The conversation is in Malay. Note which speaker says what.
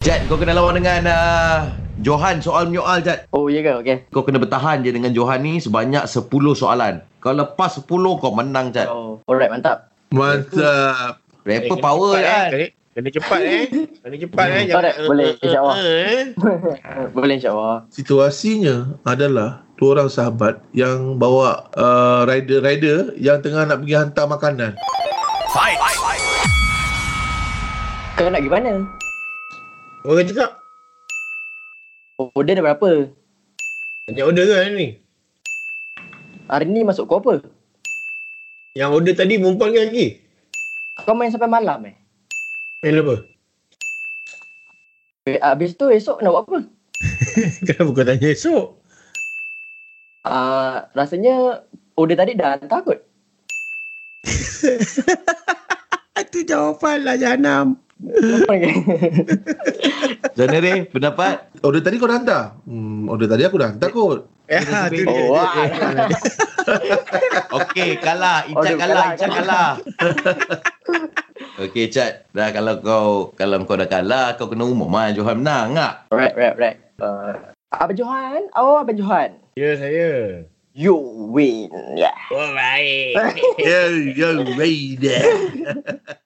Speaker 1: Jad, kau kena lawan dengan uh, Johan soal menyoal, Jad.
Speaker 2: Oh ya ke? Okay.
Speaker 1: Kau kena bertahan je dengan Johan ni sebanyak 10 soalan. Kau lepas 10, kau menang, Jad.
Speaker 2: Oh. Alright, mantap.
Speaker 3: Mantap.
Speaker 1: Rapper power,
Speaker 3: cepat,
Speaker 1: eh.
Speaker 3: eh. Kena cepat eh. Kena cepat eh.
Speaker 2: Alright, boleh, insyaAllah.
Speaker 3: eh.
Speaker 2: Boleh insyaAllah.
Speaker 3: Situasinya adalah dua orang sahabat yang bawa uh, rider-rider yang tengah nak pergi hantar makanan.
Speaker 2: Kau nak pergi mana?
Speaker 3: Orang cakap,
Speaker 2: Order dah Oh, berapa?
Speaker 3: yang order ke hari ni?
Speaker 2: Hari ni masuk kau apa?
Speaker 3: Yang order tadi perempuan ke lelaki?
Speaker 2: Kau main sampai malam eh?
Speaker 3: Eh, apa?
Speaker 2: Eh, Habis tu esok nak buat apa?
Speaker 3: Kenapa kau tanya esok?
Speaker 2: Uh, rasanya order tadi dah hantar kot.
Speaker 3: Itu jawapan lah Janam.
Speaker 2: Apa ni?
Speaker 1: Zanere, eh? pendapat?
Speaker 4: Order tadi kau dah hantar? Hmm, order tadi aku dah hantar kot.
Speaker 3: Ya, tu dia.
Speaker 2: oh, wah.
Speaker 1: Okey, kalah.
Speaker 2: Aduh,
Speaker 1: Icat Oh, kalah,
Speaker 2: kalah,
Speaker 1: Icat kalah. Okey, Cat. Dah kalau kau kalau kau dah kalah, kau kena umum ah Johan menang tak?
Speaker 2: Alright, alright, alright. Uh, Abang Johan? Oh, Abang Johan.
Speaker 3: Ya, saya.
Speaker 2: You win. Yeah.
Speaker 3: Oh, baik.
Speaker 4: Yeah, yeah, right there.